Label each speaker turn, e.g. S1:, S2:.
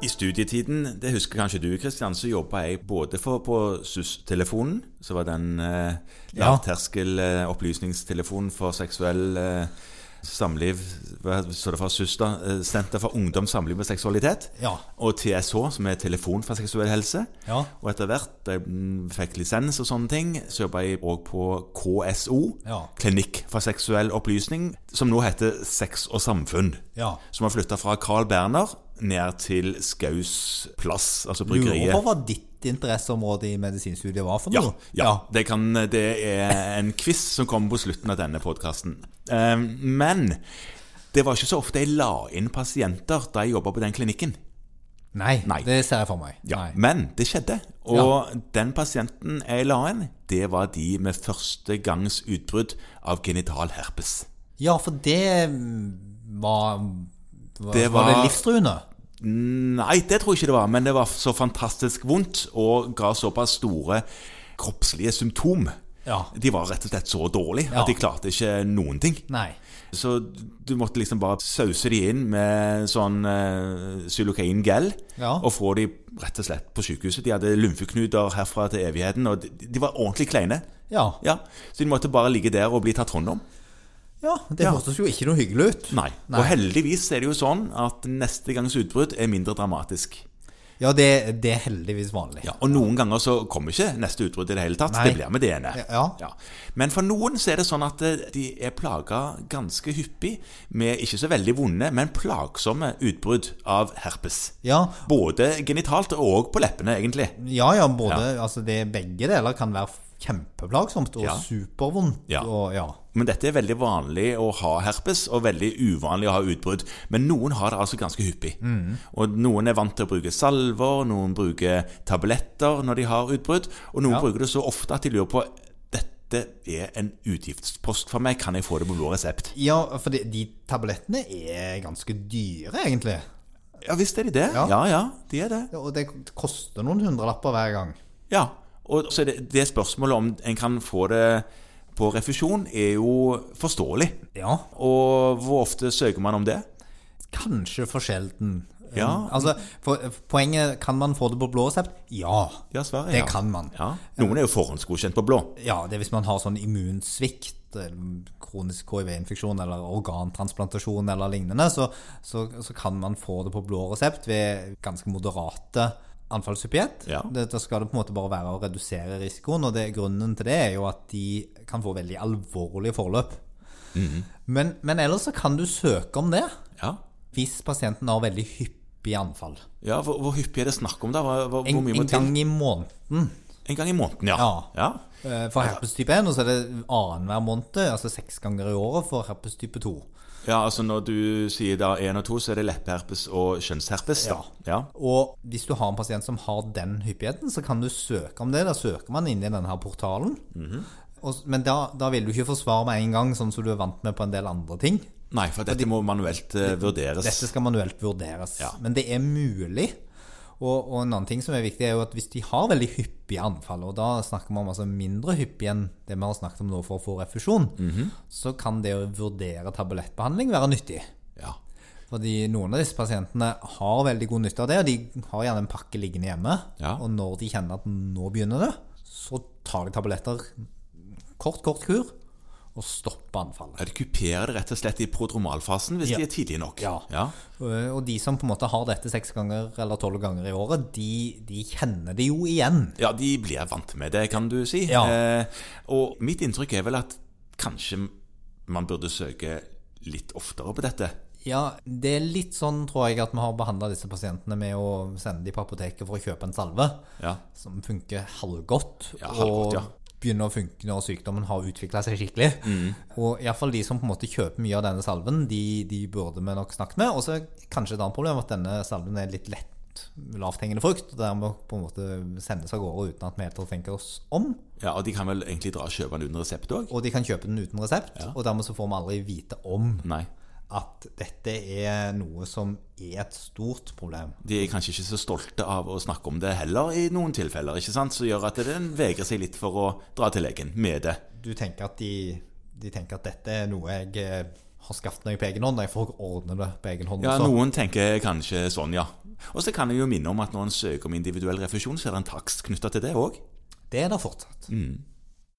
S1: I studietiden, det husker kanskje du Kristian, så jobba jeg både for, på SUS-telefonen, som var den eh,
S2: Ja.
S1: lavterskel eh, opplysningstelefonen for seksuell eh, samliv Hva står det for? SUS, da? Eh, Senter for ungdom, samliv og seksualitet.
S2: Ja.
S1: Og TSH, som er Telefon for seksuell helse.
S2: Ja.
S1: Og etter hvert, da jeg mm, fikk lisens og sånne ting, så jobba jeg òg på KSO,
S2: Ja.
S1: Klinikk for seksuell opplysning, som nå heter Sex og samfunn
S2: Ja.
S1: som har flytta fra Carl Berner ned til Skaus plass, altså
S2: Lurer på
S1: bryggeriet.
S2: hva ditt interesseområde i medisinstudiet var for
S1: Ja,
S2: noe?
S1: ja det, kan, det er en quiz som kommer på slutten av denne podkasten. Men det var ikke så ofte jeg la inn pasienter da jeg jobba på den klinikken.
S2: Nei,
S1: Nei.
S2: det ser jeg for meg.
S1: Ja,
S2: Nei.
S1: men det skjedde. Og den pasienten jeg la inn, det var de med første gangs utbrudd av genital herpes.
S2: ja, for det var, var
S1: Det
S2: det var,
S1: var-
S2: det livstruende?
S1: Nei, det tror jeg ikke det var, men det var så fantastisk vondt og ga såpass store kroppslige symptom.
S2: Ja.
S1: De var rett og slett så dårlige
S2: Ja.
S1: at de klarte ikke noen ting.
S2: Nei.
S1: Så du måtte liksom bare sause de inn med sånn uh, xylokain-gel
S2: Ja.
S1: og få de rett og slett på sykehuset. De hadde lymfeknuter herfra til evigheten, og de, de var ordentlig kleine.
S2: Ja.
S1: Ja, Så de måtte bare ligge der og bli tatt hånd om.
S2: ja det
S1: Ja.
S2: hørtes jo ikke noe hyggelig ut.
S1: Nei. Og heldigvis er det jo sånn at neste gangs utbrudd er mindre dramatisk.
S2: Ja, det, det er heldigvis vanlig.
S1: Ja, og noen ganger så kommer ikke neste utbrudd i det hele tatt.
S2: Nei.
S1: Det blir med det ene.
S2: Ja.
S1: Men for noen så er det sånn at eh, de er plaga ganske hyppig med ikke så veldig vonde, men plagsomme utbrudd av herpes.
S2: Ja,
S1: Både genitalt og på leppene, egentlig.
S2: ja, ja, både, Altså det, begge deler kan være kjempeplagsomt og
S1: Ja.
S2: supervondt.
S1: Ja.
S2: Og, ja.
S1: Men dette er veldig vanlig å ha herpes, og veldig uvanlig å ha utbrudd. Men noen har det altså ganske hyppig.
S2: Mm.
S1: Og noen er vant til å bruke salver, noen bruker tabletter når de har utbrudd, og noen
S2: Ja.
S1: bruker det så ofte at de lurer på dette er en utgiftspost for meg, kan jeg få det på blå resept?
S2: ja, for de, de tablettene er ganske dyre, egentlig.
S1: Ja visst er de det. Ja
S2: Ja.
S1: ja, de er det.
S2: Ja, Og det koster noen hundrelapper hver gang.
S1: Ja, Og så er det, det spørsmålet om en kan få det på refusjon, er jo forståelig.
S2: Ja.
S1: Og hvor ofte søker man om det?
S2: Kanskje for sjelden.
S1: Ja.
S2: Um, Altså, for, poenget kan man få det på blå resept? Ja.
S1: Ja, svaret er
S2: Det kan man.
S1: Ja. Noen er jo forhåndsgodkjent på blå.
S2: Ja, det er hvis man har sånn immunsvikt, eh, kronisk HIV-infeksjon eller organtransplantasjon eller lignende, så, så, så kan man få det på blå resept ved ganske moderate anfallshyppighet.
S1: Ja.
S2: Det- Da skal det på en måte bare være å redusere risikoen, og det, grunnen til det er jo at de kan få veldig alvorlige forløp.
S1: Mhm.
S2: men, men ellers så kan du søke om det
S1: Ja,
S2: hvis pasienten har veldig hyppig anfall.
S1: ja hvor, hvor hyppig er det snakk om, da? Hva, hva,
S2: En,
S1: hvor mye må
S2: en
S1: til?
S2: gang i måneden.
S1: En gang i måneden, ja.
S2: Ja.
S1: ja.
S2: Eh, For herpes type 1, og så er det annenhver måned, altså seks ganger i året for herpes type 2.
S1: Ja, altså Når du sier da 1 og 2, så er det leppeherpes og kjønnsherpes. Da. Ja.
S2: Og hvis du har en pasient som har den hyppigheten, så kan du søke om det. Da søker man inn i denne her portalen.
S1: Mhm.
S2: og, men da, da vil du ikke få svar med en gang, sånn som du er vant med på en del andre ting.
S1: Nei, for dette må manuelt eh, vurderes.
S2: Dette skal manuelt vurderes.
S1: Ja.
S2: Men det er mulig. Og, og en annen ting som er viktig, er jo at hvis de har veldig hyppige anfall, og da snakker vi om altså mindre hyppig enn det vi har snakket om nå for å få refusjon,
S1: Mhm.
S2: så kan det å vurdere tablettbehandling være nyttig.
S1: Ja.
S2: Fordi noen av disse pasientene har veldig god nytte av det, og de har gjerne en pakke liggende hjemme.
S1: Ja.
S2: Og når de kjenner at nå begynner det, så tar de tabletter kort, kort kur, og stopper anfallet.
S1: Ja, De kuperer det rett og slett i prodromalfasen hvis
S2: Ja.
S1: de er tidlige nok.
S2: Ja.
S1: Ja.
S2: Øh, Og de som på en måte har dette seks ganger eller tolv ganger i året, de, de kjenner det jo igjen.
S1: Ja, de blir vant med det, kan du si.
S2: Ja.
S1: Eh, og mitt inntrykk er vel at kanskje man burde søke litt oftere på dette.
S2: Ja, det er litt sånn, tror jeg, at vi har behandla disse pasientene med å sende dem på apoteket for å kjøpe en salve,
S1: Ja.
S2: som funker halvgodt.
S1: Ja, halvgodt,
S2: og
S1: ja.
S2: begynner å funke når sykdommen har utvikla seg skikkelig.
S1: Mm.
S2: Og iallfall de som på en måte kjøper mye av denne salven, de, de burde vi nok snakket med. Og så er kanskje et annet problem at denne salven er litt lett lavthengende frukt, og dermed på en måte sendes av gårde uten at vi helt tenker oss om.
S1: ja, Og de kan vel egentlig dra og kjøpe den under resept òg?
S2: Og de kan kjøpe den uten resept, og dermed så får vi aldri vite om
S1: Nei.
S2: at dette er noe som er et stort problem.
S1: De er kanskje ikke så stolte av å snakke om det heller, i noen tilfeller. ikke sant? Som gjør at den vegrer seg litt for å dra til legen med det.
S2: Du tenker at de, de tenker at dette er noe jeg eh, har skaffet meg på egen hånd, jeg får ordne det på egen hånd
S1: Ja,
S2: også.
S1: Noen tenker kanskje sånn, ja. Og så kan jeg jo minne om at når en søker om individuell refusjon, så er det en takst knytta til det òg.
S2: Det er det fortsatt.